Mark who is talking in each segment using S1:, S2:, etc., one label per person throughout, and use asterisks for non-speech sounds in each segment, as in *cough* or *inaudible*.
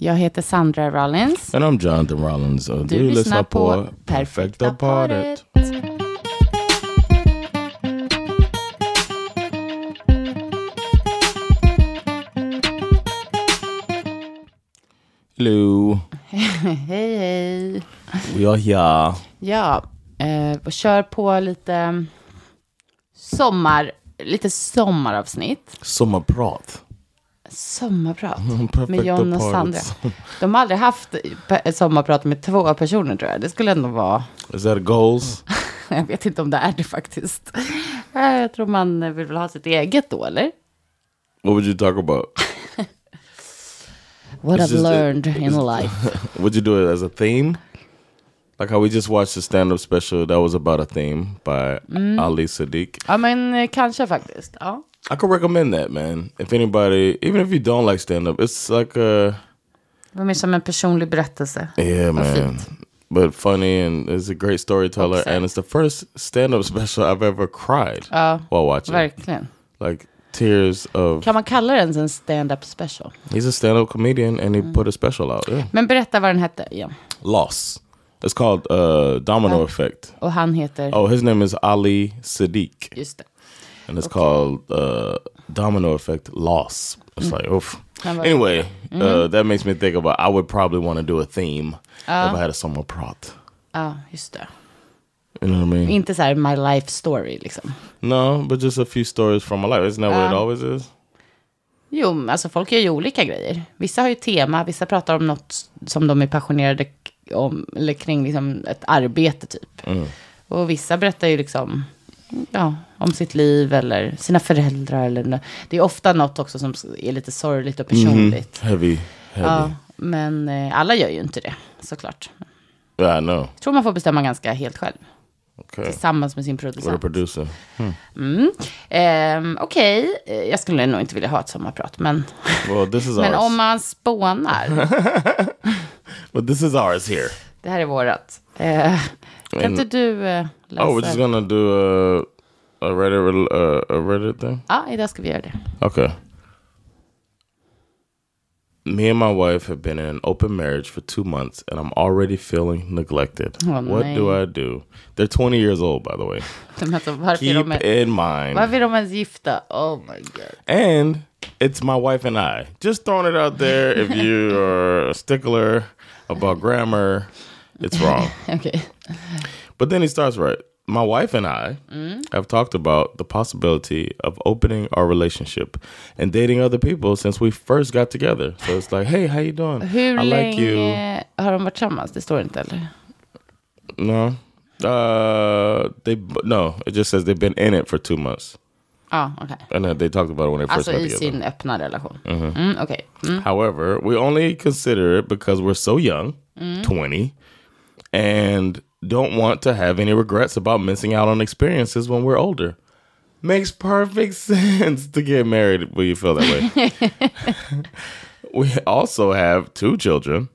S1: Jag heter Sandra Rollins.
S2: And I'm Jonathan Rollins Uh, och du, lyssnar på Perfekta paret. Hello,
S1: Hej, hej.
S2: we are here.
S1: Ja, eh, och kör på lite sommar, lite sommaravsnitt.
S2: Sommarprat.
S1: Sommarprat med
S2: *laughs* Perfekta
S1: John och
S2: paret.
S1: Sandra. De har aldrig haft pe- sommarprat med två personer tror jag. Det skulle ändå vara, *laughs*
S2: Is that goals?
S1: jag vet inte om det är det faktiskt. Eh, Jag tror man vill väl ha sitt eget då, eller?
S2: What would you talk about? *laughs*
S1: What
S2: It's
S1: I've
S2: just that-
S1: learned in
S2: it's-
S1: life.
S2: Would you do it as a theme? Like how we just watched a stand-up special that was about a theme by Ali Sadiq.
S1: Ja, men eh, kanske faktiskt. Ja.
S2: I could recommend that, man. If anybody, even if you don't like stand-up, it's like a
S1: Det var mer som en personlig berättelse.
S2: yeah, man.
S1: fint.
S2: But funny and it's a great storyteller,
S1: Också.
S2: and it's the first stand-up *laughs* special I've ever cried
S1: Ja,
S2: while watching.
S1: Verkligen.
S2: Like tears of.
S1: Kan man kalla den en stand-up special?
S2: He's a stand-up comedian, and he put a special out. Yeah.
S1: Men berätta vad den hette igen.
S2: Loss. It's called uh, Domino Effect.
S1: Och han heter...
S2: Oh, his name is Ali Sadiq.
S1: Just det.
S2: and it's called uh, Domino Effect Loss. It's like, oof.
S1: Sounds like-
S2: Anyway, uh, that makes me think about I would probably want to do a theme if I had a summer prot.
S1: Ja, just det.
S2: You know what I mean?
S1: Inte så här my life story liksom.
S2: no, but just a few stories from my life. Isn't that what it always is?
S1: Jo, men alltså folk gör ju olika grejer. Vissa har ju tema, vissa pratar om något som de är passionerade k- om, eller kring liksom ett arbete typ. Och vissa berättar ju liksom, ja, om sitt liv eller sina föräldrar eller nå- Det är ofta något också som s- är lite sorgligt och personligt.
S2: Heavy, heavy.
S1: Ja, men eh, alla gör ju inte det, såklart.
S2: yeah, I know.
S1: Jag tror man får bestämma ganska helt själv,
S2: Okay.
S1: tillsammans med sin
S2: With a
S1: producent.
S2: producer.
S1: Mm. Ehm, Okej, Eh, jag skulle nog inte vilja ha ett sommarprat,
S2: *laughs*
S1: men,
S2: Well, this is ours.
S1: men om man oh spånar.
S2: But this is ours here.
S1: Det här är vårat. Eh, kan
S2: Men-
S1: inte du eh, läsa?
S2: Oh, we're just gonna do a, a Reddit uh, a Reddit thing.
S1: Ja, idag ska vi göra det. *laughs*
S2: Okay. Me and my wife have been in an open marriage for two months, and I'm already feeling neglected.
S1: Oh,
S2: what
S1: man.
S2: do I do? They're 20 years old, by the way.
S1: Men alltså, varför, är
S2: Keep
S1: de, en-
S2: in mind.
S1: varför är de ens gifta? Oh my god. *laughs*
S2: And it's my wife and I. Just throwing it out there.
S1: *laughs*
S2: If you are a stickler about grammar, it's wrong.
S1: Okej.
S2: But then he starts right. My wife and I have talked about the possibility of opening our relationship and dating other people since we first got together. So it's like, hey, how you doing?
S1: Hur
S2: I like you.
S1: länge har de varit tillsammans? Det står inte, eller?
S2: No, uh, they no. It just says they've been in it for two months,
S1: Ja, okej.
S2: and uh, they talked about it when they first
S1: Alltså
S2: got
S1: i
S2: together.
S1: sin öppna relation.
S2: Mhm.
S1: Mm, okej. Mm.
S2: However, we only consider it because we're so young, 20, and don't want to have any regrets about missing out on experiences when we're older. Makes perfect *laughs* sense to get married when you feel that way. we also have two children.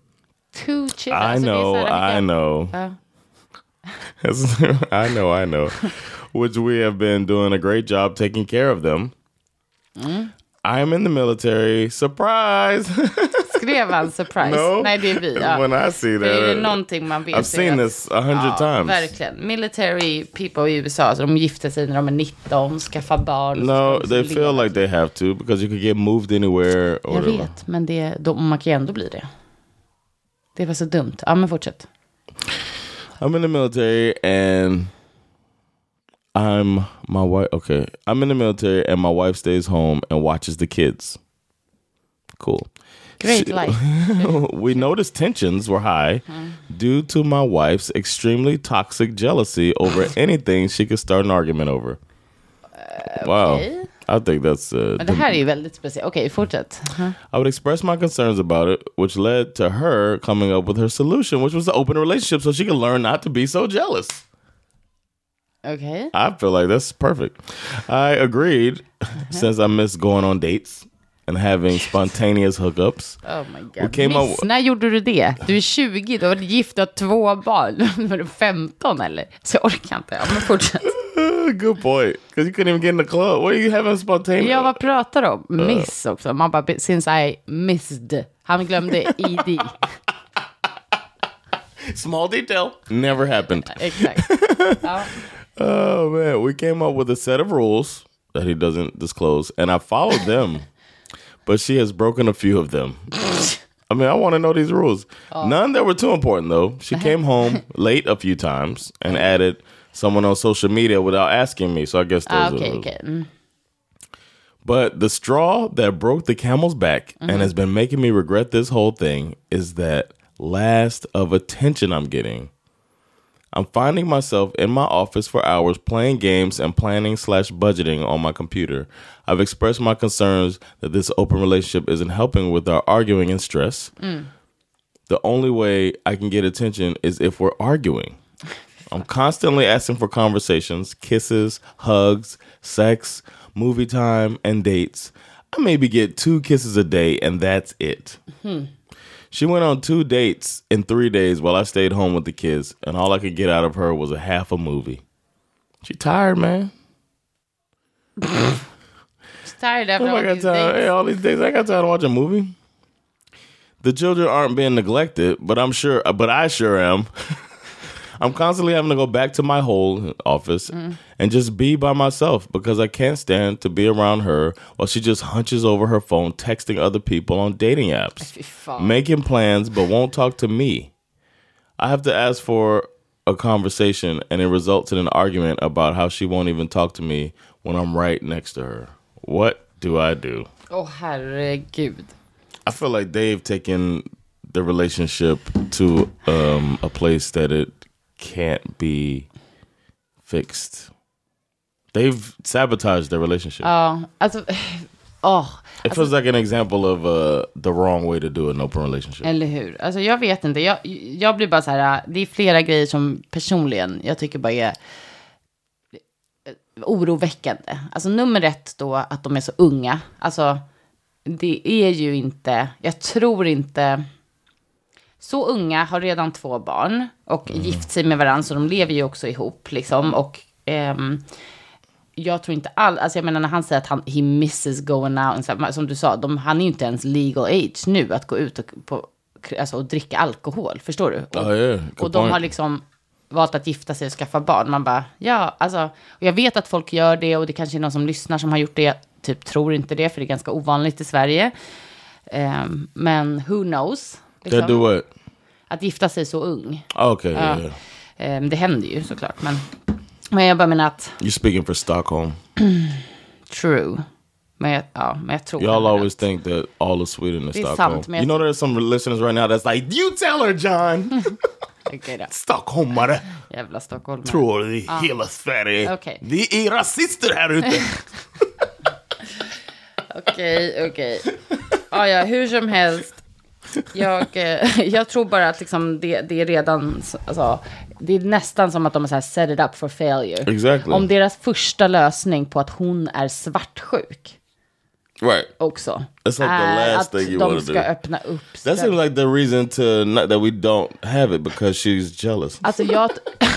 S1: Two chicks.
S2: I
S1: Alltså, det är så
S2: know,
S1: här
S2: I
S1: mycket-
S2: know.
S1: Ja.
S2: *laughs* I know, I know. Which we have been doing a great job taking care of them. I am in the military. Surprise! *laughs*
S1: Skrev han surprise?
S2: No.
S1: Nej, det är vi. Ja.
S2: When I see
S1: Det är ju
S2: that,
S1: någonting man vet.
S2: I've seen
S1: är att-
S2: this a
S1: Oh,
S2: hundred times.
S1: Verkligen. Military people i USA, så de gifter sig när de är 19, skaffar barn. och så
S2: No,
S1: ska de
S2: they
S1: liksom
S2: feel
S1: leva.
S2: like they have to because you could get moved anywhere or
S1: Jag
S2: whatever.
S1: vet, men det, de, man kan ju ändå bli det. Det var så dumt. Ja, men fortsätt.
S2: I'm in the military and I'm my wife. Okay, I'm in the military and my wife stays home and watches the kids. Cool.
S1: Great
S2: She-
S1: life.
S2: *laughs*
S1: Mm.
S2: we noticed tensions were high due to my wife's
S1: *laughs*
S2: extremely
S1: Uh,
S2: toxic jealousy over anything she could start an argument over. wow. I think that's uh,
S1: Men det här är
S2: *laughs*
S1: ju väldigt speciellt. Okej, fortsätt. Uh-huh.
S2: I would express my concerns about it, which led to her coming up with her solution, which was to open a relationship so she could learn not to be so jealous.
S1: Okej.
S2: I feel like that's perfect. I agreed since I miss going on dates and having spontaneous hookups.
S1: Oh my god.
S2: Okej, man-
S1: Miss, när gjorde du det? Du är 20, du har varit gift, du har två barn. *laughs* Var du 15 eller? Så jag orkar inte. Ja, men fortsätt.
S2: Good point. Because you couldn't even get in the club. What are you having spontaneous?
S1: Ja, vad pratar du om? Miss också. Man bara, since I missed. Han glömde E
S2: *laughs*
S1: id.
S2: Small detail. Never happened.
S1: Exakt.
S2: Oh, man. We came up with a set of rules that he doesn't disclose, and I followed them, but she has broken a few of them. I mean, I want to know these rules. None that were too important, though. She came home late a few times and added someone on social media without asking me, so I guess those
S1: Ah,
S2: are
S1: Okej,
S2: those.
S1: okej. Mm.
S2: But the straw that broke the camel's back and has been making me regret this whole thing is that last of attention I'm getting. I'm finding myself in my office for hours playing games and planning slash budgeting on my computer. I've expressed my concerns that this open relationship isn't helping with our arguing and stress. The only way I can get attention is if we're arguing. I'm constantly asking for conversations, kisses, hugs, sex, movie time, and dates. I maybe get two kisses a day, and that's it. She went on two dates in three days while I stayed home with the kids, and all I could get out of her was a half a movie. She tired, man.
S1: Tired after
S2: Oh my
S1: all
S2: God,
S1: these
S2: tired. Hey,
S1: dates.
S2: all these days I got tired of watching a movie. The children aren't being neglected, but I'm sure, uh, but I sure am. *laughs* I'm constantly having to go back to my whole office and just be by myself because I can't stand to be around her while she just hunches over her phone texting other people on dating apps.
S1: Fy fan.
S2: making plans but won't talk to me. I have to ask for a conversation and it results in an argument about how she won't even talk to me when I'm right next to her. What do I do?
S1: Åh herregud.
S2: I feel like they've taken the relationship to um, a place that it can't be fixed. They've sabotaged their relationship.
S1: Ja, alltså. *sighs* Åh,
S2: it feels like an example of uh, the wrong way to do an open relationship.
S1: Eller hur? Alltså jag vet inte. Jag, jag blir bara så här, äh, det är flera grejer som personligen jag tycker bara är äh, oroväckande. Alltså nummer ett då, att de är så unga. Alltså det är ju inte, jag tror inte, så unga, har redan två barn och gift sig med varandra, så de lever ju också ihop liksom. Och ehm, jag tror inte alls, alltså jag menar när han säger att han, he misses going out, så här, som du sa, de, han är ju inte ens legal age nu att gå ut och, på, alltså, och dricka alkohol, förstår du? Och,
S2: Ja, ja, Oh, good
S1: och de har
S2: point.
S1: liksom valt att gifta sig och skaffa barn. Man bara, ja, alltså, och jag vet att folk gör det och det kanske är någon som lyssnar som har gjort det, Jag typ tror inte det, för det är ganska ovanligt i Sverige. Ehm, men who knows?
S2: They do what?
S1: Att gifta sig så ung.
S2: Okay, yeah, yeah.
S1: Ehm, det händer ju såklart. Men, men jag bara menar att,
S2: You're speaking for Stockholm.
S1: true. Men jag, ja, men jag tror...
S2: Y'all
S1: att-
S2: always think that all of Sweden is
S1: This
S2: Stockholm.
S1: sounds messy.
S2: You know, there's some listeners right now that's like, you tell her, John.
S1: *laughs* Okej då.
S2: Stockholm, mother.
S1: Jävla Stockholm.
S2: Tror det
S1: Uh.
S2: är hela Sverige.
S1: Okej.
S2: Vi är rasister
S1: *laughs*
S2: här ute.
S1: Okej, okej. Ja, ja, hur som helst. Jag, eh, *laughs* jag tror bara att liksom det, det är redan, s- alltså, det är nästan som att de har så här set it up for failure.
S2: Exactly.
S1: Om deras första lösning på att hon är svartsjuk
S2: right.
S1: också.
S2: That's like the
S1: är
S2: last
S1: att
S2: thing you
S1: de
S2: wanna
S1: ska
S2: do.
S1: öppna upp
S2: That
S1: sig.
S2: seems like the reason to not that we don't have it because she's jealous.
S1: Alltså jag,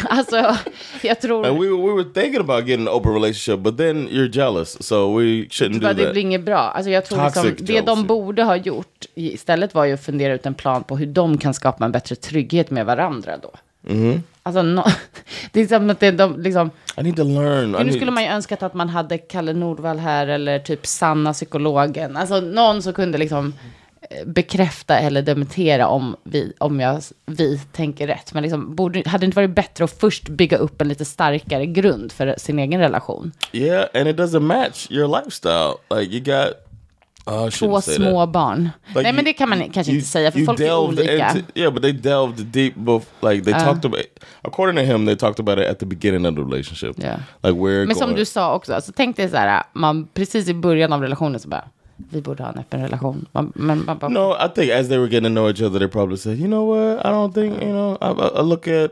S1: *laughs* alltså, jag tror
S2: And we, we were thinking about getting an open relationship, but then you're jealous, so we shouldn't do
S1: bara, det
S2: that.
S1: blir inget bra. Alltså jag tror
S2: Toxic
S1: liksom, det
S2: jealousy.
S1: de borde ha gjort i- istället var ju att fundera ut en plan på hur de kan skapa en bättre trygghet med varandra då. Alltså, no, *laughs* det är som att det, de liksom,
S2: I need to learn. I
S1: nu
S2: need,
S1: skulle man ju önskat att man hade Kalle Nordvall här eller typ Sanna psykologen. Alltså någon som kunde liksom eh, bekräfta eller dementera om vi, om jag, vi tänker rätt. Men liksom, borde, hade det inte varit bättre att först bygga upp en lite starkare grund för sin egen relation?
S2: Yeah, and it doesn't match your lifestyle. Like you got Oh, I
S1: Två
S2: shouldn't say that.
S1: små barn.
S2: Like,
S1: Nej, men
S2: you-
S1: det kan man kanske
S2: you-
S1: inte säga, för
S2: you
S1: folk är
S2: delved
S1: olika.
S2: into- yeah, but they delved deep. Bef- like they talked about, according to him, they talked about it at the beginning of the relationship.
S1: Yeah.
S2: like where.
S1: Men som du sa också, alltså, tänk dig så här, man, precis i början av relationen så bara, vi borde ha en öppen relation. Man, men man bara,
S2: No, I think as they were getting to know each other, they probably said, "You know what? I don't think you know." I, I I look at,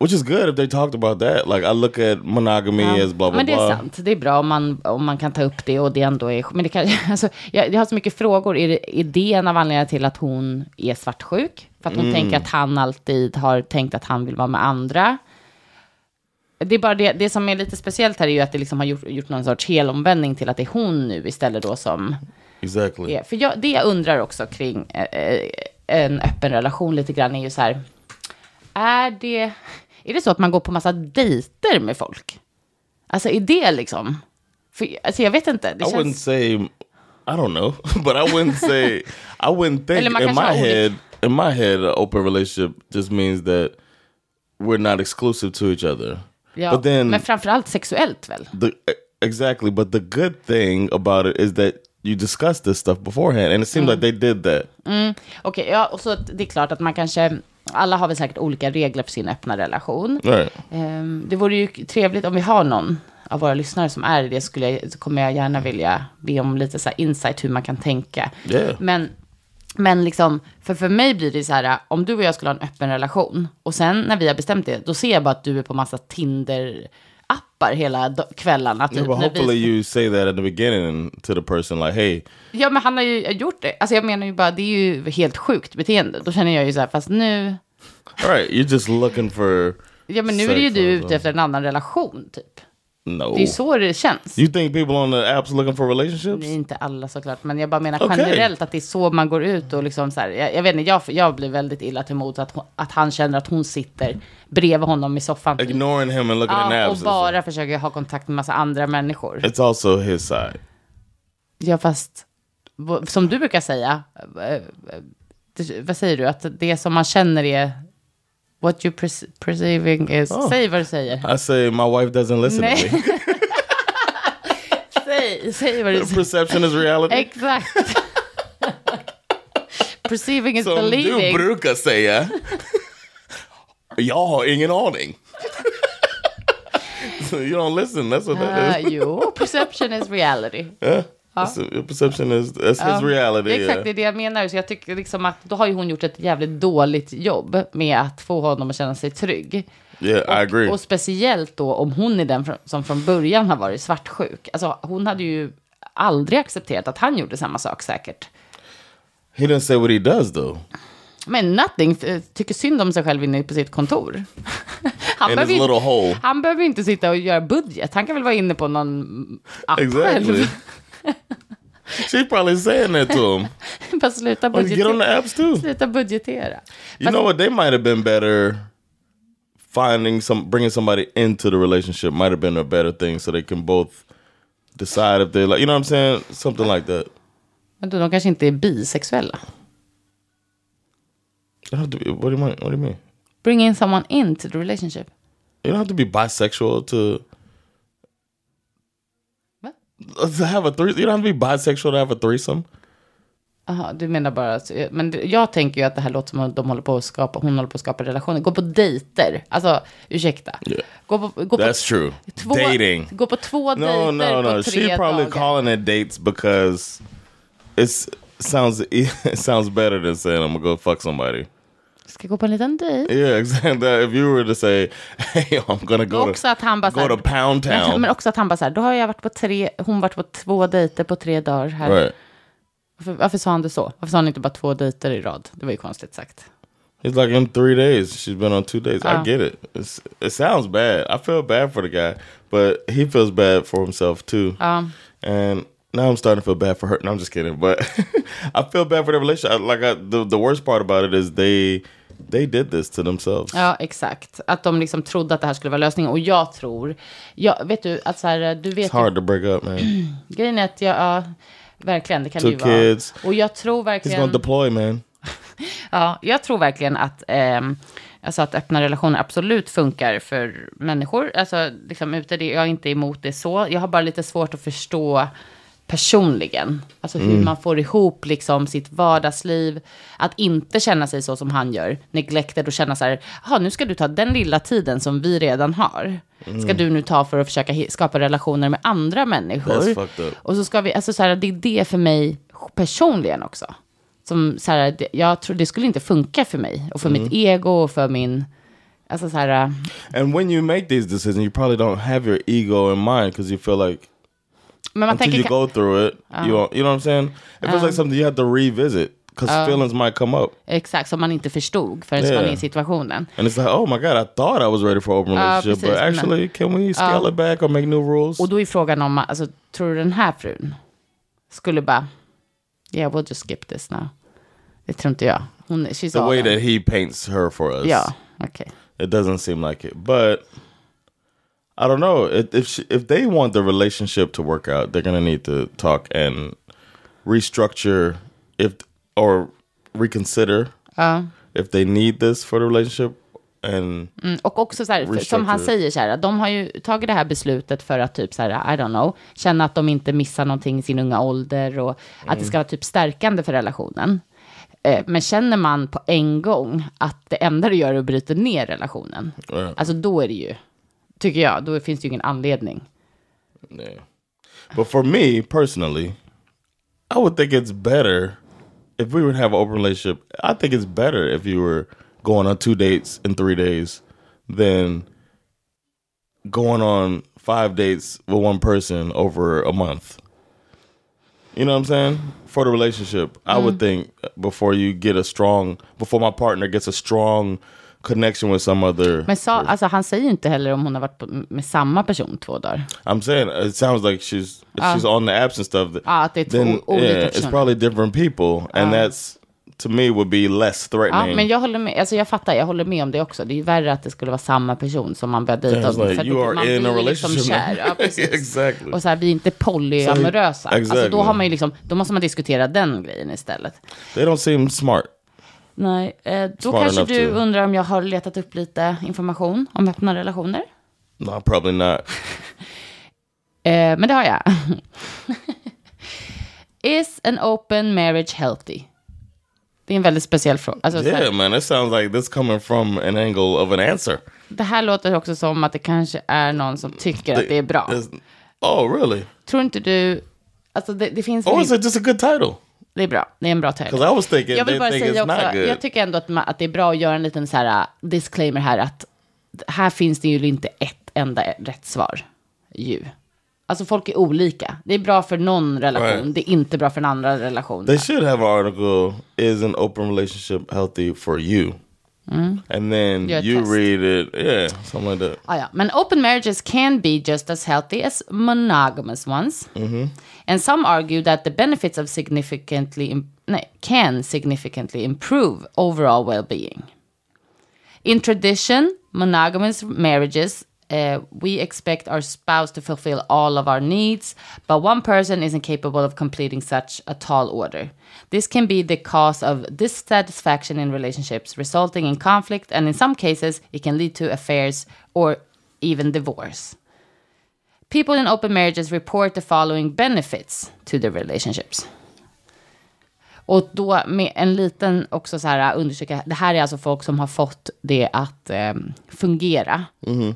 S2: which is good if they talked about that. Like I look at monogamy
S1: Ja.
S2: as blah blah
S1: men det är
S2: blah.
S1: sant. Det är bra om man, om man kan ta upp det och det ändå är... Men det kan, *laughs* alltså, jag, jag har så mycket frågor. Är det, är det en av anledningarna till att hon är svartsjuk? För att hon tänker att han alltid har tänkt att han vill vara med andra? Det, är bara det, det som är lite speciellt här är ju att det liksom har gjort, gjort någon sorts helomvändning till att det är hon nu istället då som...
S2: Exactly.
S1: är. För jag, det jag undrar också kring eh, eh, en öppen relation lite grann är ju så här, är det, är det så att man går på massa dejter med folk? Alltså är det liksom, för, alltså jag vet inte, det
S2: I wouldn't
S1: känns,
S2: say. I don't know, *laughs* but I wouldn't say. I wouldn't think
S1: Eller
S2: in
S1: man kanske
S2: my
S1: har olika-
S2: head. In my head, an open relationship just means that we're not exclusive to each other.
S1: ja,
S2: but then
S1: men framförallt sexuellt väl?
S2: the e, exactly but the good thing about it is that you discuss this stuff beforehand and it seemed like they did that
S1: Okej, ja, och så att det är klart att man kanske, alla har väl säkert olika regler för sin öppna relation.
S2: right
S1: Ehm, det vore ju trevligt om vi har någon av våra lyssnare som är i det, skulle jag, så kommer jag gärna vilja be om lite så här insight hur man kan tänka.
S2: Yeah.
S1: Men, men liksom, för, för mig blir det så här, om du och jag skulle ha en öppen relation och sen när vi har bestämt det, då ser jag bara att du är på massa Tinder-appar hela do- kvällarna. Typ,
S2: yeah, but
S1: när vi-
S2: hopefully you say that at the beginning to the person like hey
S1: Ja, men han har ju gjort det. Alltså jag menar ju bara, det är ju helt sjukt beteende. Då känner jag ju så här, fast nu...
S2: all right you're just looking for
S1: Ja, men nu är det ju
S2: sex
S1: du
S2: alltså.
S1: ute efter en annan relation, typ.
S2: no
S1: Det är ju så det känns.
S2: you think people on the apps looking for relationships
S1: Det är inte alla såklart, men jag bara menar
S2: Okej.
S1: generellt att det är så man går ut och liksom så här, jag, jag vet inte, jag, jag blir väldigt illa till mods att, hon- att han känner att hon sitter bredvid honom i soffan. typ.
S2: ignoring him and looking at
S1: Ja, och
S2: apps
S1: bara försöker ha kontakt med massa andra människor.
S2: it's also his side
S1: Ja, fast v- som du brukar säga, eh, eh, det- vad säger du, att det som man känner är what you perce- perceiving is,
S2: Ah.
S1: säg vad du säger.
S2: i say my wife doesn't listen
S1: Nej.
S2: to me
S1: Säg, säg vad
S2: *laughs*
S1: du säger.
S2: perception is reality *laughs*
S1: Exakt. Perceiving is
S2: Som du
S1: believing.
S2: brukar *laughs* säga jag har ingen aning *laughs* so you don't listen that's what that is
S1: Ah, jo, perception is reality.
S2: That's a- perception is that's his reality.
S1: Det är exakt
S2: yeah.
S1: det, är det jag menar. Så jag tycker liksom att då har ju hon gjort ett jävligt dåligt jobb med att få honom att känna sig trygg.
S2: Yeah, I agree.
S1: Och speciellt då om hon är den fr- som från början har varit svartsjuk. Alltså hon hade ju aldrig accepterat att han gjorde samma sak säkert.
S2: He doesn't say what he does though.
S1: Men Nothing eh, tycker synd om sig själv inne på sitt kontor. *laughs* Han
S2: In his
S1: behöver ju-
S2: little hole.
S1: han behöver ju inte sitta och göra budget. Han kan väl vara inne på någon *laughs* app
S2: Exactly.
S1: själv.
S2: She's probably saying that to him.
S1: Bara sluta
S2: Like, get on the
S1: budgetera.
S2: apps too.
S1: Sluta budgetera.
S2: You know what? They might have been better finding some bringing somebody into the relationship might have been a better thing so they can both decide if they like you know what I'm saying? Something like that.
S1: Men då, de kanske inte är bisexuella.
S2: You don't have to be, what do you mean? What do you mean?
S1: Bring in someone into the relationship.
S2: You don't have to be bisexual to
S1: Va?
S2: to have a three. You don't have to be bisexual to have a threesome.
S1: Aha, du menar bara... att- Men det- jag tänker ju att det här låter som att de håller på att skapa, hon håller på att skapa relationer. Gå på dejter. Alltså, ursäkta.
S2: Yeah.
S1: Gå på, gå på
S2: That's true.
S1: två,
S2: Dating.
S1: Gå på två
S2: No,
S1: dejter
S2: no, no.
S1: på tre
S2: She probably
S1: dagar.
S2: calling it dates because it's sounds *laughs* it sounds better than saying I'm gonna go fuck somebody.
S1: Ska gå på en liten dejt.
S2: Yeah, *laughs* exactly. If you were to say, *laughs* "Hey, I'm gonna go
S1: Också att han
S2: to
S1: bara så
S2: go
S1: här-
S2: to Pound
S1: Men,
S2: Town,"
S1: men också att han bara så här, då har jag varit på tre, hon varit på två dejter på tre dagar här.
S2: right?
S1: Varför, varför sa han det så? Varför sa han inte bara två dejter i rad? Det var ju konstigt sagt.
S2: He's like in three days. She's been on two days. I get it. It's, it sounds bad. I feel bad for the guy, but he feels bad for himself too.
S1: Um.
S2: and now I'm starting to feel bad for her. No, I'm just kidding. But *laughs* I feel bad for the relationship. I- Like I, the the worst part about it is they they did this to themselves.
S1: Ja, exakt. Att de liksom trodde att det här skulle vara lösningen. Och jag tror, jag, vet du, att så här, du vet
S2: It's hard to break up, man.
S1: ju, grejen är att jag, ja, verkligen, det kan
S2: Two
S1: det ju vara.
S2: kids.
S1: Och jag tror
S2: He's
S1: verkligen,
S2: gonna deploy, man.
S1: ja, jag tror verkligen att, ehm, alltså att öppna relationer absolut funkar för människor. Alltså, liksom ute, det, jag är inte emot det så. Jag har bara lite svårt att förstå personligen. Alltså hur
S2: Mm.
S1: man får ihop liksom sitt vardagsliv. Att inte känna sig så som han gör, neglected och känna så här, jaha nu ska du ta den lilla tiden som vi redan har.
S2: Mm.
S1: Ska du nu ta för att försöka hi- skapa relationer med andra människor.
S2: That's fucked up.
S1: Och så ska vi, alltså så här, det är det för mig personligen också. Som så här, det, jag tror det skulle inte funka för mig. Och för
S2: Mm.
S1: mitt ego och för min, alltså så här,
S2: And when you make these decisions, you probably don't have your ego in mind because you feel like
S1: men man
S2: until
S1: tänker,
S2: you go through it, you don't- you know what I'm saying? It feels like something you have to revisit because feelings might come up,
S1: exakt, som man inte förstod förrän
S2: Yeah.
S1: man är i situationen.
S2: and it's like, oh my god, I thought I was ready for open relationship,
S1: precis,
S2: but
S1: men-
S2: actually, can we scale it back or make new rules?
S1: Och då är frågan om, alltså, tror du den här frun skulle bara, yeah we'll just skip this now. Det tror inte jag. Hon, she's
S2: The
S1: all
S2: way
S1: in.
S2: that he paints her for us,
S1: Ja, okej.
S2: it doesn't seem like it, but. I don't know if if, she, if they want the relationship to work out, they're gonna need to talk and restructure if or reconsider
S1: Ja.
S2: if they need this for the relationship and
S1: Mm, och också så här, för, som han
S2: Restructure.
S1: säger så här, de har ju tagit det här beslutet för att typ så här, I don't know, känna att de inte missar någonting i sin unga ålder och att
S2: Mm.
S1: det ska vara typ stärkande för relationen. Eh, Men känner man på en gång att det enda du gör är att bryta ner relationen,
S2: Ja.
S1: alltså då är det ju, tycker jag, då finns det ju ingen anledning.
S2: Yeah. But for me personally, I would think it's better if we would have an open relationship. I think it's better if you were going on two dates in three days than going on five dates with one person over a month. You know what I'm saying? For the relationship, I would think before you get a strong, before my partner gets a strong connection with some other.
S1: Men sa, alltså, han säger ju inte heller om hon har varit på, med samma person två dagar.
S2: I'm saying it sounds like she's if she's on the apps and stuff.
S1: Ah, att det är två
S2: then
S1: olika
S2: yeah, it's
S1: personer.
S2: probably different people,
S1: Ah.
S2: and that's to me would be less
S1: Ja,
S2: threatening.
S1: men jag håller med. Alltså jag fattar, jag håller med om det också. Det är ju värre att det skulle vara samma person som man börjar
S2: Yeah,
S1: dejta.
S2: it's like
S1: För att
S2: you
S1: då-
S2: are
S1: man
S2: in
S1: blir
S2: a
S1: ju
S2: relationship.
S1: Liksom kär.
S2: *laughs* now.
S1: Ja, precis.
S2: exactly.
S1: Och så här, vi är inte polyamorösa. Alltså
S2: exactly.
S1: då har man ju liksom, då måste man diskutera den grejen istället.
S2: They don't seem smart.
S1: Nej, eh, då
S2: Smart
S1: kanske
S2: enough
S1: du
S2: to-
S1: undrar om jag har letat upp lite information om öppna relationer.
S2: No,
S1: *laughs*
S2: probably not.
S1: Eh, men det har jag. *laughs* Is an open marriage healthy? Det är en väldigt speciell fråga. Alltså, så här-
S2: Yeah, man, that sounds like this coming from an angle of an answer.
S1: Det här låter också som att det kanske är någon som tycker att det är bra.
S2: It's- oh, really?
S1: Tror inte du... Alltså det, det finns...
S2: Or
S1: väl
S2: Oh, is it just a good title?
S1: Det är bra. Det är en bra
S2: Because I
S1: tävling.
S2: was thinking
S1: Jag
S2: they
S1: vill bara
S2: think it's
S1: säga
S2: not
S1: också,
S2: good.
S1: jag tycker ändå att, ma- att det är bra att göra en liten så här uh, disclaimer här att här finns det ju inte ett enda rätt svar. Ju. Alltså folk är olika. Det är bra för någon relation,
S2: Right.
S1: det är inte bra för en andra relation.
S2: They should have an article Is an open relationship healthy for you? And then
S1: Your Mm-hmm.
S2: you
S1: test.
S2: read it. Yeah, something like that.
S1: Ah, ja. Men open marriages can be just as healthy as monogamous ones. And some argue that the benefits of significantly im- nej, can significantly improve overall well-being. In tradition, monogamous marriages, uh, we expect our spouse to fulfill all of our needs, but one person isn't capable of completing such a tall order. This can be the cause of dissatisfaction in relationships, resulting in conflict, and in some cases, it can lead to affairs or even divorce. People in open marriages report the following benefits to their relationships. Och då med en liten också så här äh, undersöka, det här är alltså folk som har fått det att eh, fungera.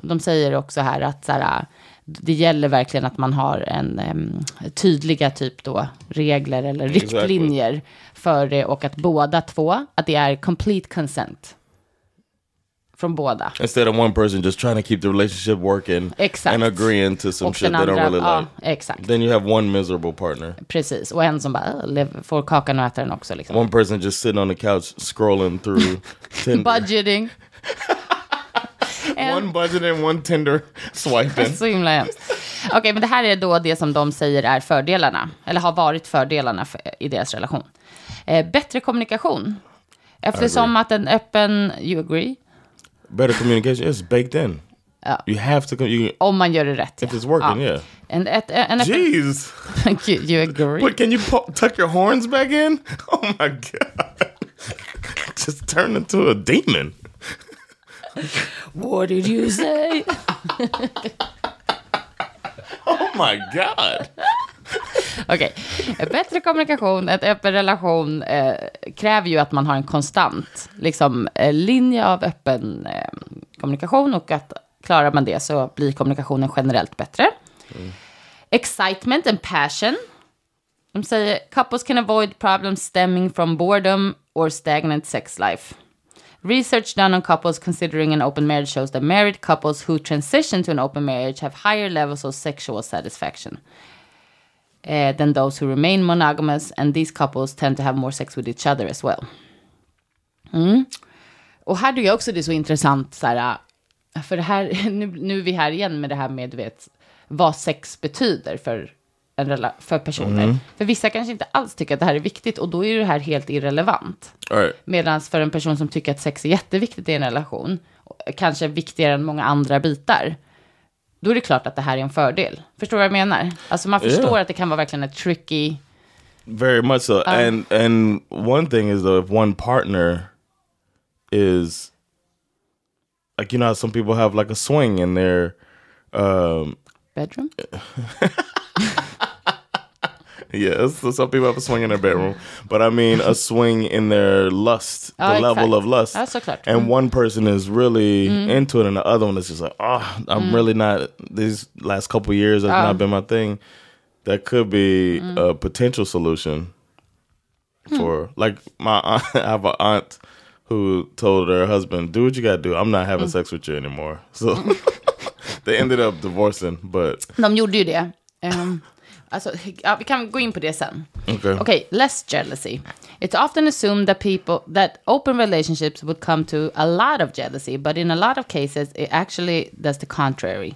S1: De säger också här att så här, äh, det gäller verkligen att man har en eh, tydliga typ då regler eller
S2: Exactly.
S1: riktlinjer för det och att båda två, att det är complete consent. Från båda.
S2: Instead of one person just trying to keep the relationship working
S1: Exact.
S2: and agreeing to some
S1: Och
S2: shit
S1: den
S2: they
S1: andra,
S2: don't really
S1: ja,
S2: like,
S1: exakt.
S2: then you have one miserable partner.
S1: Precis, och en som bara "Äh, lev- får kakan och äter den också. Liksom.
S2: One person just sitting on the couch
S1: *laughs*
S2: scrolling through Tinder. *laughs*
S1: Budgeting,
S2: one budget and one Tinder *laughs*
S1: *laughs*
S2: swiping.
S1: så himla hemskt. Okej, men det här är då det som de säger är fördelarna, eller har varit fördelarna för, i deras relation. Eh, bättre kommunikation. Eftersom att en öppen, you agree,
S2: Better communication. It's baked in.
S1: Oh.
S2: You have to. co-
S1: *laughs*
S2: You,
S1: om man gör det rätt.
S2: if it's working, yeah.
S1: En, ett, en öppen,
S2: Jeez.
S1: *laughs* you agree.
S2: What can you po- tuck your horns back in? *laughs* Oh my god! *laughs* Just turned into a demon.
S1: What did you *laughs* say?
S2: Oh my god!
S1: Okej. Bättre kommunikation, en öppen relation eh, kräver ju att man har en konstant liksom, eh, linje av öppen eh, kommunikation och att klarar man det så blir kommunikationen generellt bättre. Excitement and passion. De säger couples can avoid problems stemming from boredom or stagnant sex life. Research done on couples considering an open marriage shows that married couples who transition to an open marriage have higher levels of sexual satisfaction uh, than those who remain monogamous, and these couples tend to have more sex with each other as well. Mm. Och här tycker jag också det är så intressant, så här, äh, för det här, *laughs* nu, nu är vi här igen med det här med du vet, vad sex betyder för, en, rela- för personer. För vissa kanske inte alls tycker att det här är viktigt, och då är ju det här helt irrelevant.
S2: All right.
S1: Medan för en person som tycker att sex är jätteviktigt i en relation, kanske viktigare än många andra bitar, då är det klart att det här är en fördel. Förstår du vad jag menar? Alltså man förstår
S2: Ja.
S1: att det kan vara verkligen ett tricky...
S2: Very much so. and and one thing is though, if one partner is like you know, how some people have like a swing in their um
S1: Bedroom?
S2: Yes, so some people have a swing in their bedroom, but I mean
S1: *laughs*
S2: a swing in their lust, the
S1: Oh, exact.
S2: level of lust.
S1: That's Mm-hmm. so clever.
S2: And one person is really into it, and the other one is just like, oh,
S1: Mm-hmm.
S2: I'm really not. These last couple years has
S1: Oh.
S2: not been my thing. That could be
S1: Mm-hmm.
S2: a potential solution
S1: Hmm.
S2: for, like, my *laughs* aunt. I have an aunt who told her husband, "Do what you got to do. I'm not
S1: Mm.
S2: having sex with you anymore." *laughs* So they ended up divorcing, but
S1: De gjorde ju det. Ehm, alltså, ja, vi kan gå in på det sen.
S2: okay,
S1: Okay, less jealousy. It's often assumed that people that open relationships would come to a lot of jealousy, but in a lot of cases, it actually does the contrary.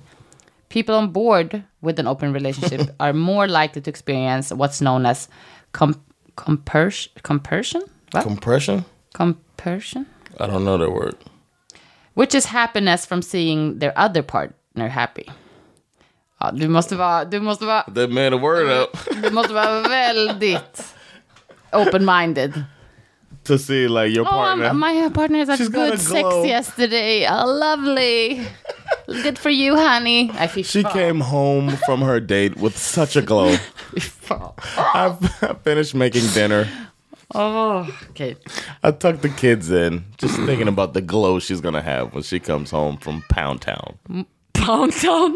S1: People on board with an open relationship are more likely to experience what's known as com- compers- compersion, what?
S2: compression.
S1: compersion,
S2: I don't know that word.
S1: which is happiness from seeing their other partner happy. Ja, du måste vara, du måste vara
S2: That man a word up
S1: Du måste vara väldigt open-minded.
S2: *laughs* to see like your
S1: Oh,
S2: partner.
S1: um, my partner had
S2: She's got
S1: good
S2: a
S1: sex
S2: glow.
S1: yesterday. Oh, lovely. Good for you, honey. Nej, fy
S2: she
S1: fan.
S2: came home from her date with such a glow.
S1: Fy fan.
S2: I, *laughs* I finished making dinner.
S1: Åh, okej.
S2: I tucked the kids in, just thinking about the glow she's gonna have when she comes home from Pound Town.
S1: Pound town.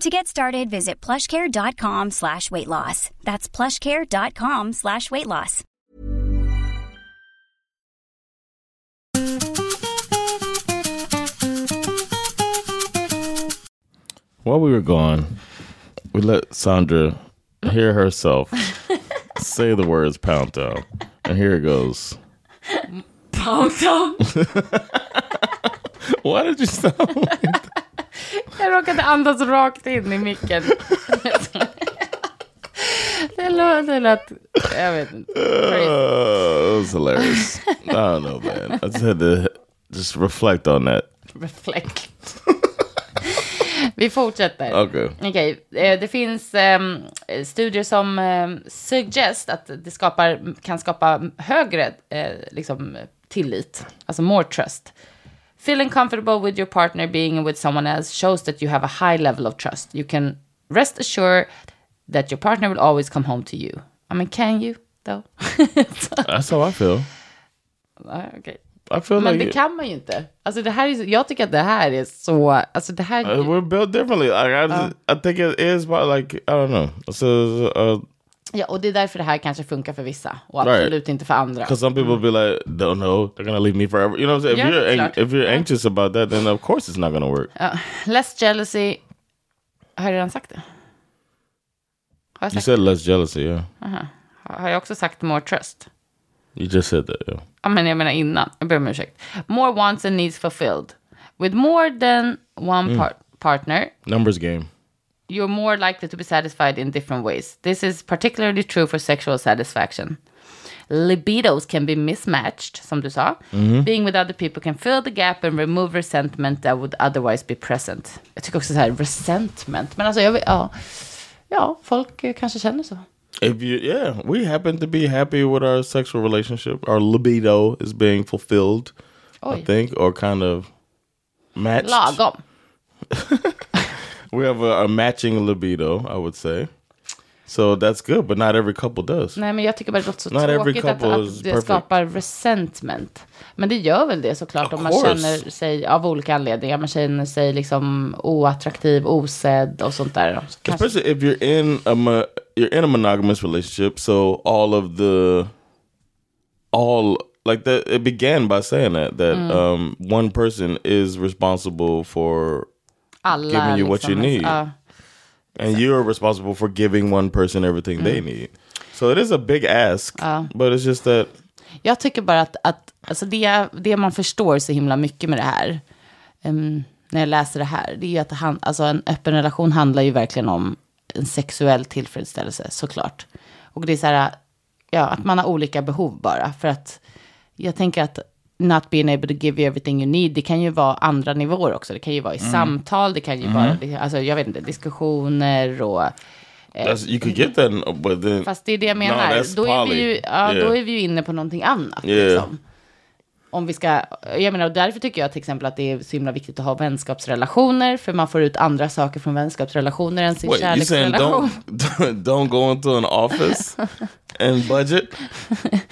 S3: To get started, visit plushcare.com slash weight loss. That's plushcare.com slash weight loss.
S2: While we were gone, we let Sandra hear herself say the words Pound Town, and here it goes.
S1: Pound town.
S2: *laughs* Why did you *laughs* Uh, sound?
S1: Jag råkade andas rakt in i micken. Det låter det lät... Jag vet inte. Crazy.
S2: Uh, it was hilarious. I don't know, man. I just had to just reflect on that.
S1: Reflect. Vi fortsätter.
S2: Okay.
S1: Okej, eh, det finns ehm, studier som ehm, suggest att det skapar, kan skapa högre eh, liksom, tillit, alltså more trust. Feeling comfortable with your partner being with someone else shows that you have a high level of trust. You can rest assured that your partner will always come home to you. I mean, can you though? *laughs* Så,
S2: That's how I feel.
S1: ah, okej.
S2: I feel
S1: Men
S2: like
S1: det kan man ju inte. Alltså det här är, så- jag tycker att det här är så, alltså det här, Uh.
S2: Uh, we're built differently. Like I, I think it is, but like I don't know. It's a, a
S1: Ja, och det är därför det här kanske funkar för vissa och
S2: Right.
S1: absolut inte för andra.
S2: Because some people be like, don't know, they're gonna leave me forever. You know what I'm saying?
S1: Mm. Yeah, Uh,
S2: if you're ang-
S1: klart.
S2: if you're anxious about that, then of course it's not gonna work.
S1: Less jealousy. Har jag redan sagt det? Har jag,
S2: You
S1: sagt,
S2: said less jealousy, yeah.
S1: har jag också sagt more trust?
S2: You just said that, yeah.
S1: Ja, men jag menar innan. Jag ber om ursäkt. More wants and needs fulfilled. With more than one par partner,
S2: Numbers game.
S1: you're more likely to be satisfied in different ways. This is particularly true for sexual satisfaction. Libidos can be mismatched, som du sa. Being with other people can fill the gap and remove resentment that would otherwise be present. Jag tycker också så här, resentment. Men alltså, jag vet, ja. ja, folk eh, kanske känner så.
S2: If you, yeah, we happen to be happy with our sexual relationship. Our libido is being fulfilled, I
S1: Oj.
S2: think, or kind of matched.
S1: Lagom.
S2: We have a, a matching libido, I would say. So that's good, but not every couple does.
S1: Nej, men jag tycker bara det låter så
S2: Not every
S1: tråkigt att,
S2: couple is
S1: att det
S2: perfect.
S1: skapar resentment. Men det gör väl det såklart
S2: Of
S1: om man
S2: course.
S1: känner sig av olika anledningar. Man känner sig liksom oattraktiv, osedd och sånt där. Så kanske-
S2: Especially if you're in a mo- you're in a monogamous relationship, so all of the all like that it began by saying that that um one person is responsible for
S1: alla
S2: giving you what you
S1: ens-
S2: need.
S1: ja.
S2: and you're responsible for giving one person everything they need. So it is a big ask, but it's just that
S1: jag tycker bara att, att alltså det, det man förstår så himla mycket med det här, em, när jag läser det här, det är ju att han, alltså en öppen relation handlar ju verkligen om en sexuell tillfredsställelse, såklart. Och det är så här, ja, att man har olika behov bara, för att jag tänker att not being able to give you everything you need, det kan ju vara andra nivåer också. Det kan ju vara
S2: Mm.
S1: i samtal, det kan ju vara, alltså jag vet inte, diskussioner och... Eh.
S2: that's, you could get that, but then
S1: Fast det är det jag
S2: No,
S1: menar.
S2: that's
S1: då, är vi
S2: poly.
S1: ju, ja,
S2: Yeah.
S1: då är vi ju inne på någonting annat.
S2: Yeah.
S1: Liksom. Om vi ska, jag menar, och därför tycker jag till exempel att det är så himla viktigt att ha vänskapsrelationer. För man får ut andra saker från vänskapsrelationer än sin
S2: Wait, you saying
S1: kärleksrelation.
S2: *laughs* don't don't go into an office and budget?
S1: *laughs*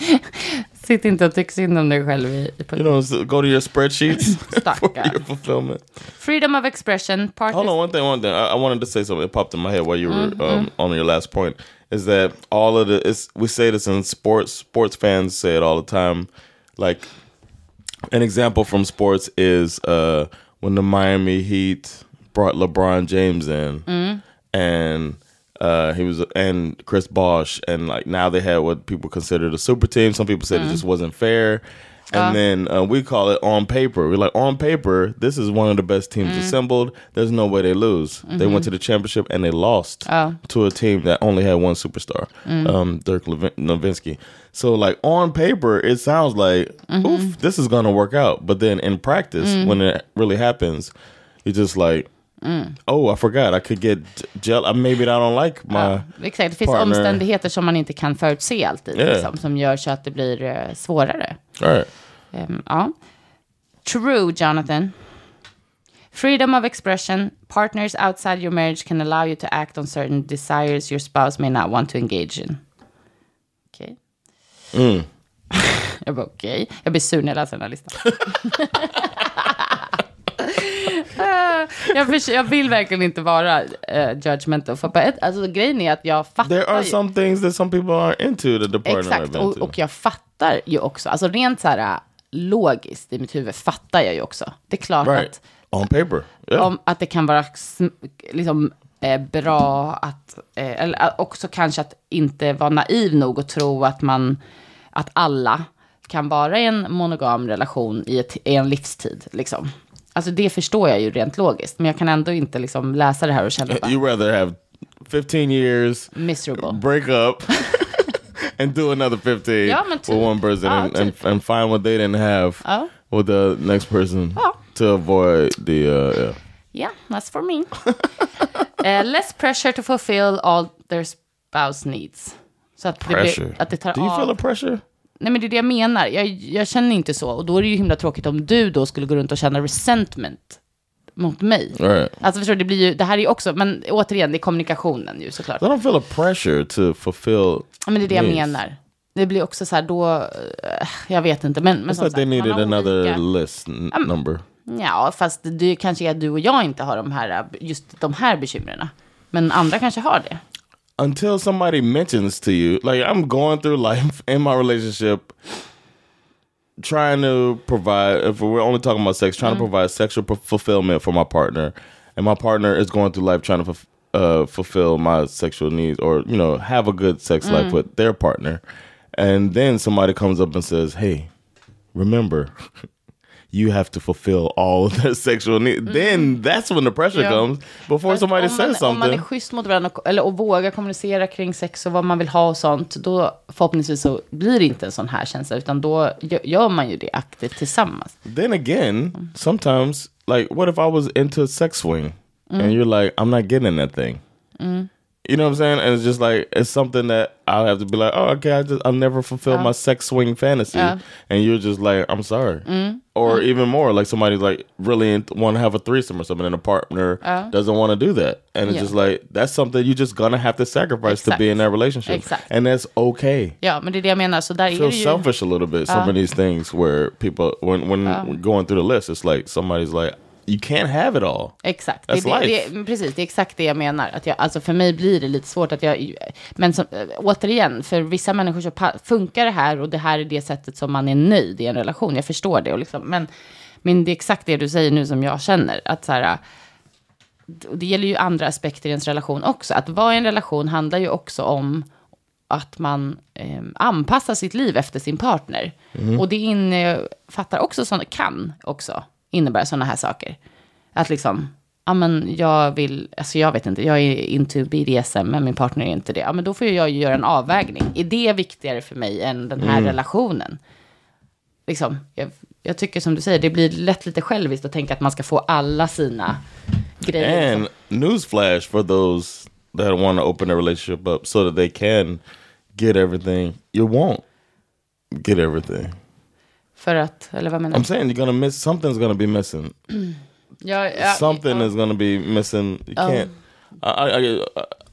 S1: Sitt inte och tyck synd om dig själv. I, i- på,
S2: You know, so go to your spreadsheets *laughs* for
S1: Stackare.
S2: your fulfillment.
S1: Freedom of expression,
S2: Hold on,
S1: partners.
S2: one thing, one thing. I, I wanted to say something. It popped in my head while you were um, on your last point. Is that all of the? It's, we say this in sports. Sports fans say it all the time. Like an example from sports is uh, when the Miami Heat brought LeBron James in, and uh, he was and Chris Bosh, and like now they had what people considered a super team. Some people said it just wasn't fair. And then uh, we call it on paper. We're like, on paper, this is one of the best teams assembled. There's no way they lose. They went to the championship and they lost to a team that only had one superstar, um, Dirk Levin- Nowitzki. So, like on paper, it sounds like, oof, this is gonna work out. But then in practice, when it really happens, you're just like, oh, I forgot. I could get jealous. Maybe I don't like my.
S1: Exakt, det finns
S2: Partner.
S1: omständigheter som man inte kan förutse alltid.
S2: Yeah.
S1: Liksom, som gör så att det blir eh, svårare.
S2: All right.
S1: Ehm, ja. True, Jonathan. Freedom of expression. Partners outside your marriage can allow you to act on certain desires your spouse may not want to engage in. Okej.
S2: Mm.
S1: *laughs* jag bara okej. Jag blir sur när jag läser den här
S2: *laughs*
S1: listan. Eh, jag, förs- jag vill verkligen inte vara uh, judgmental. För på ett, alltså, grejen är att jag fattar
S2: There are
S1: ju-
S2: some things that some people aren't into that the partner
S1: Exakt,
S2: are
S1: och,
S2: into.
S1: och jag fattar ju också, alltså rent så här äh, logiskt i mitt huvud fattar jag ju också. Det är klart
S2: Right.
S1: att,
S2: On paper. Yeah. *laughs*
S1: om, att det kan vara sm- liksom, eh, bra att, eh, eller äh, också kanske att inte vara naiv nog och tro att man, att alla kan vara i en monogam relation i, ett, i en livstid. Liksom. Alltså det förstår jag ju rent logiskt, men jag kan ändå inte liksom läsa det här och känna bara,
S2: You rather have 15 years,
S1: miserable.
S2: break *laughs* up, and do another 15
S1: Ja, men
S2: with
S1: typ.
S2: one person
S1: Ja,
S2: and,
S1: typ.
S2: and, and find what they didn't have
S1: Ja.
S2: with the next person
S1: Ja.
S2: to avoid the. Uh, yeah.
S1: Yeah, that's for me. *laughs* Eh, less pressure to fulfill all their spouse needs. Så att det,
S2: Pressure.
S1: blir, att det tar
S2: Do you
S1: av.
S2: feel the Oh. pressure?
S1: Nej men det är det jag menar. Jag, jag känner inte så. Och då är det ju himla tråkigt om du då skulle gå runt och känna resentment mot mig.
S2: All right.
S1: Alltså förstår du, det blir ju, det här är ju också, men återigen, det är kommunikationen ju såklart.
S2: I don't feel a pressure to fulfill.
S1: Ja, Men det är det jag
S2: Yes.
S1: menar. Det blir också så här då, eh, jag vet inte, men, men
S2: It's like they
S1: man
S2: needed
S1: har
S2: another
S1: olika-
S2: list n- number.
S1: Ja, fast det kanske är att du och jag inte har de här, just de här bekymren. Men andra kanske har det.
S2: until somebody mentions to you, like I'm going through life *laughs* in my relationship trying to provide if we're only talking about sex, trying to provide sexual p- fulfillment for my partner, and my partner is going through life trying to fulf- uh, fulfill my sexual needs or you know have a good sex life with their partner, and then somebody comes up and says, "Hey, remember." *laughs* You have to fulfill all *laughs* of their sexual needs. Then that's when the pressure
S1: Yeah.
S2: comes. Before somebody
S1: om man,
S2: says
S1: Om man är
S2: something,
S1: schysst mot varandra och, eller, och vågar kommunicera kring sex och vad man vill ha och sånt, då förhoppningsvis så blir det inte en sån här känsla, utan då gö- gör man ju det aktivt tillsammans.
S2: then again, sometimes, like, what if I was into a sex swing and you're like, I'm not getting that thing? You know what I'm saying? And it's just like, it's something that I'll have to be like, oh, okay, I just, I'll never fulfill my sex swing fantasy.
S1: Yeah. Mm-hmm.
S2: And you're just like, I'm sorry. Or even more, like, somebody's like, really want to have a threesome or something, and a partner doesn't want to do that. And it's
S1: Yeah.
S2: just like, that's something you're just going to have to sacrifice to be in that relationship.
S1: Exact.
S2: And that's okay
S1: Ja, men det är det jag menar, så där är
S2: feel
S1: det ju.
S2: selfish a little bit. Some of these things where people, when when when going through the list, it's like somebody's like, you can't have it all.
S1: Exakt.
S2: That's
S1: det, är det,
S2: life.
S1: det, är- precis, det är exakt det jag menar. Att jag, alltså för mig blir det lite svårt att jag... Men som, eh, återigen, för vissa människor så pa- funkar det här och det här är det sättet som man är nöjd i en relation. Jag förstår det. Och liksom, men, men det är exakt det du säger nu som jag känner. Att så här, och det gäller ju andra aspekter i ens relation också. Att vara i en relation handlar ju också om att man eh, anpassar sitt liv efter sin partner. Och det innefattar också sådana, kan också innebära sådana här saker. Att liksom, ja men jag vill, alltså jag vet inte, jag är into BDSM men min partner är inte det. Ja men då får ju jag ju göra en avvägning. Är det viktigare för mig än den här relationen? liksom, jag, jag tycker som du säger, det blir lätt lite själviskt att tänka att man ska få alla sina grejer.
S2: And newsflash for those that want to open their relationship up so that they can get everything, you won't get everything.
S1: För att, eller vad menar
S2: I'm
S1: du?
S2: saying you're gonna miss something's gonna be missing.
S1: Ja, ja,
S2: Something is gonna be missing. You can't. I, I, I,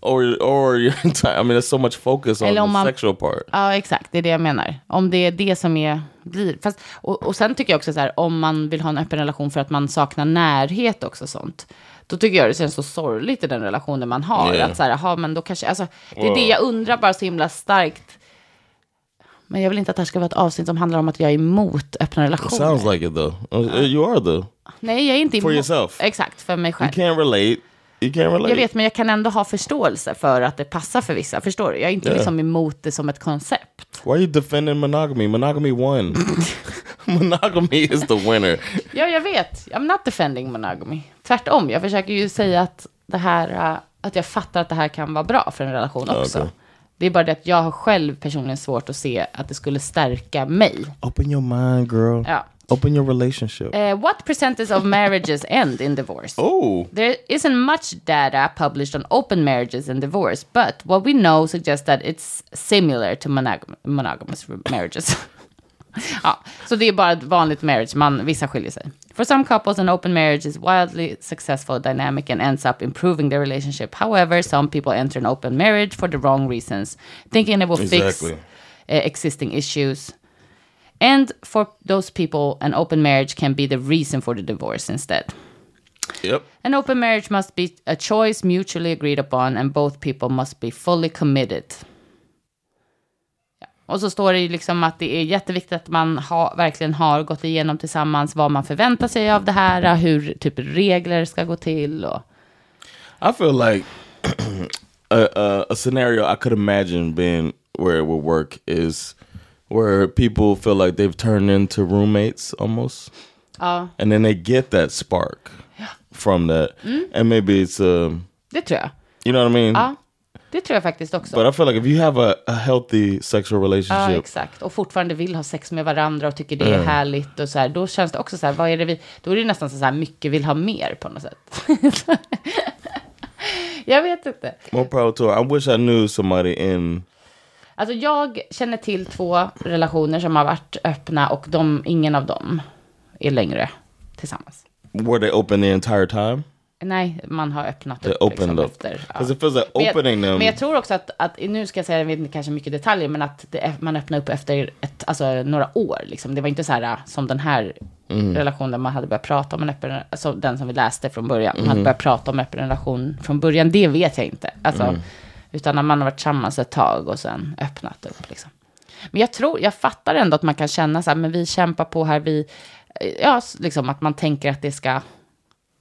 S2: or or your *laughs* entire. I mean, there's so much focus on
S1: Eller
S2: the
S1: om man-
S2: sexual part.
S1: Ja, exakt. Det är det jag menar. Om det är det som är, blir. Fast, och, och sen tycker jag också så här, om man vill ha en öppen relation för att man saknar närhet också sånt. Då tycker jag det känns så sorgligt i den relationen man har.
S2: Yeah.
S1: Att så här, aha, men då kanske, alltså, det är det jag undrar bara så himla starkt. Men jag vill inte att det här ska vara ett avsnitt som handlar om att jag är emot öppna relationer.
S2: Sounds like it though. Uh, you are though.
S1: Nej, jag är inte
S2: For
S1: emot-
S2: yourself.
S1: Exakt, för mig
S2: You
S1: själv.
S2: can't relate. You can't relate.
S1: Jag vet, men jag kan ändå ha förståelse för att det passar för vissa. Förstår du? Jag är inte
S2: Ja.
S1: liksom emot det som ett koncept.
S2: Why are you defending monogamy? Monogamy won. *laughs* monogamy is the winner.
S1: Ja, jag vet. I'm not defending monogamy. Tvärtom, jag försöker ju säga att det här, äh, att jag fattar att det här kan vara bra för en relation också.
S2: okej.
S1: Det är bara det att jag har själv personligen svårt att se att det skulle stärka mig.
S2: Open your mind, girl.
S1: Ja.
S2: Open your relationship.
S1: Eh, what percentage of marriages end in divorce?
S2: oh,
S1: There isn't much data published on open marriages and divorce, but what we know suggests that it's similar to monogam monogamous marriages. *laughs* ja, så det är bara ett vanligt marriage, man, vissa skiljer sig. For some couples, an open marriage is wildly successful, dynamic and ends up improving their relationship. However, some people enter an open marriage for the wrong reasons, thinking it will
S2: Exactly.
S1: fix eh, existing issues. And for those people, an open marriage can be the reason for the divorce instead.
S2: yep.
S1: An open marriage must be a choice mutually agreed upon and both people must be fully committed. Ja. Och så står det ju liksom att det är jätteviktigt att man ha, verkligen har gått igenom tillsammans vad man förväntar sig av det här, hur typ regler ska gå till och...
S2: I feel like *clears throat* a, a, a scenario I could imagine being where it would work is where people feel like they've turned into roommates almost. And then they get that spark from that. And maybe it's, um,
S1: Det tror jag.
S2: you know what I mean?
S1: Ja, det tror jag faktiskt också.
S2: But I feel like if you have a, a healthy sexual
S1: Ja,
S2: relationship,
S1: exakt. Och fortfarande vill ha sex med varandra och tycker det är härligt och så här. Då känns det också så här, vad är det vi... Då är det nästan så här, mycket vill ha mer på något sätt. *laughs* jag vet inte.
S2: More power to her. I wish I knew somebody in.
S1: Alltså jag känner till två relationer som har varit öppna och de, ingen av dem är längre tillsammans.
S2: Were they open the entire time?
S1: Nej, man har öppnat
S2: They
S1: upp. liksom,
S2: opened up. Alltså,
S1: efter, ja.
S2: Because it feels like
S1: Men jag-
S2: opening them.
S1: Men jag tror också att, att nu ska jag säga, jag vet inte kanske mycket detaljer, men att det, är- man öppnar upp efter ett, alltså, några år. Liksom. Det var inte så här äh, som den här
S2: Mm.
S1: relationen där man hade börjat prata om en öppen, alltså
S2: Mm. Mm.
S1: den som vi läste från början, man hade börjat prata om öppen relation från början, det vet jag inte. Alltså, Utan när man har varit tillsammans ett tag och sen öppnat upp. Liksom. Men jag tror, jag fattar ändå att man kan känna så här, men vi kämpar på här, vi, ja, liksom att man tänker att det ska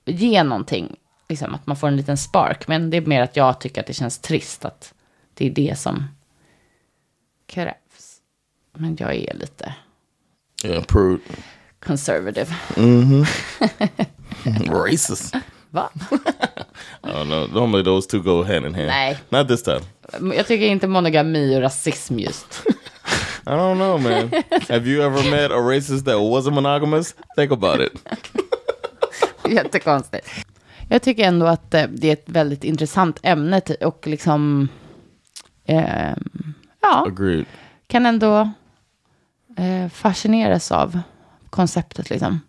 S1: ge någonting. Liksom att man får en liten spark. Men det är mer att jag tycker att det känns trist att det är det som krävs. Men jag är lite
S2: Yeah, prude.
S1: conservative.
S2: Racist.
S1: Va?
S2: *laughs* I don't know. Normally those two go hand in hand.
S1: Nej.
S2: Not this time.
S1: Jag tycker inte monogami och rasism just. *laughs*
S2: I don't know, man. Have you ever met a racist that wasn't monogamous? Think about it.
S1: Jättekonstigt. Jag tycker ändå att eh, det är ett väldigt intressant ämne ty- och liksom... ehm, ja,
S2: *laughs* Agreed.
S1: kan ändå eh, fascineras av konceptet liksom.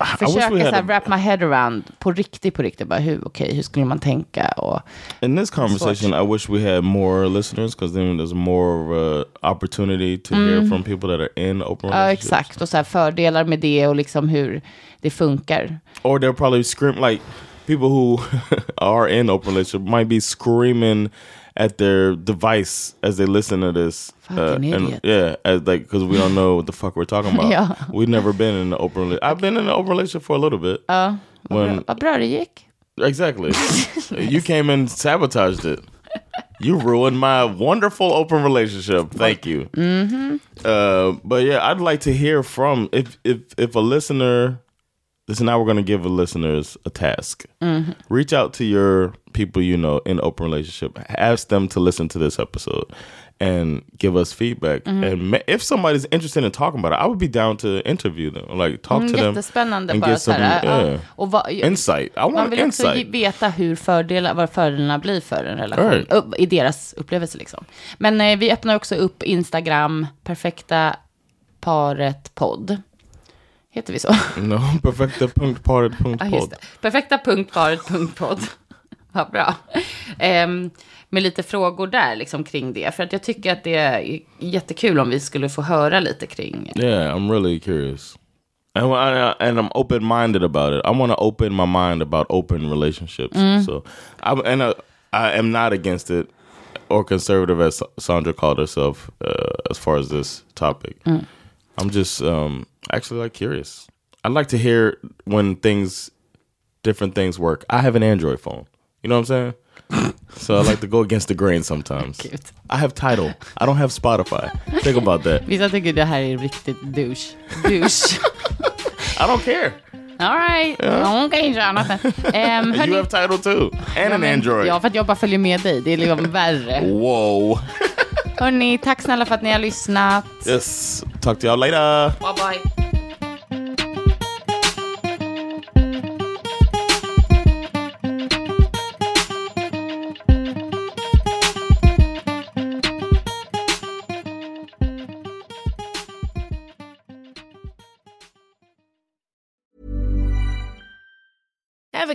S2: wish
S1: Försöka
S2: we
S1: så
S2: had
S1: här,
S2: a-
S1: wrap my head around på riktigt, på riktigt. Bara hur, okej, hur skulle man tänka och...
S2: In this conversation, I wish we had more listeners because then there's more of a opportunity to hear from people that are in open
S1: Ja,
S2: relationships.
S1: exakt. Och så här, fördelar med det och liksom hur det funkar.
S2: Or they're probably scream like people who *laughs* are in open relationship might be screaming at their device as they listen to this. uh,
S1: Fucking
S2: and-
S1: idiot.
S2: yeah, as like because we don't know what the fuck we're talking
S1: *laughs*
S2: about.
S1: Yeah.
S2: We've never been in an open relationship. I've been in an open relationship for a little bit.
S1: Ja, vad bra,
S2: When-
S1: vad bra det gick.
S2: *laughs* Exactly. you came and sabotaged it. You ruined my wonderful open relationship. Thank you. Mm-hmm. Uh, but yeah, I'd like to hear from if if if a listener. This now we're gonna give a listeners a task. Reach out to your people you know in open relationship. Ask them to listen to this episode and give us feedback. And ma- if somebody's interested in talking about it, I would be down to interview them. Like talk Mm, to them.
S1: Mm, Jättespännande
S2: and
S1: bara
S2: get
S1: så här.
S2: some,
S1: ja.
S2: yeah.
S1: Och vad,
S2: Insight. I
S1: man
S2: want
S1: vill också ge-
S2: insight.
S1: veta hur fördelar, vad fördelarna blir för en relation.
S2: Right.
S1: upp- I deras upplevelse liksom. Men eh, vi öppnar också upp Instagram, perfekta paret podd. Heter vi så?
S2: No, *laughs* perfekta punkt paret punkt
S1: Ja, just
S2: podd.
S1: det. Perfekta punkt paret punkt podd. Vad bra. Ehm, med lite frågor där liksom kring det. För att jag tycker att det är jättekul om vi skulle få höra lite kring.
S2: Yeah, I'm really curious. And, when I, and I'm open minded about it. I want to open my mind about open relationships. So, I, and I, I am not against it or conservative as Sandra called herself uh, as far as this topic. I'm just um, actually like curious. I'd like to hear when things, different things work. I have an Android phone. You know what I'm saying? so I like to go against the grain sometimes.
S1: Cute.
S2: I have title. I don't have Spotify. Think about that.
S1: Vissa tycker det här är riktigt douche. Douche.
S2: I don't care.
S1: All right. Hon kan inte göra annat än. Ehm, hörni-
S2: You have title too. And an Android.
S1: Ja, för att jag bara följer med dig. Det är liksom värre.
S2: Whoa.
S1: Hörni, tack snälla för att ni har lyssnat.
S2: Yes. Talk to y'all later.
S1: Bye bye.
S4: Ever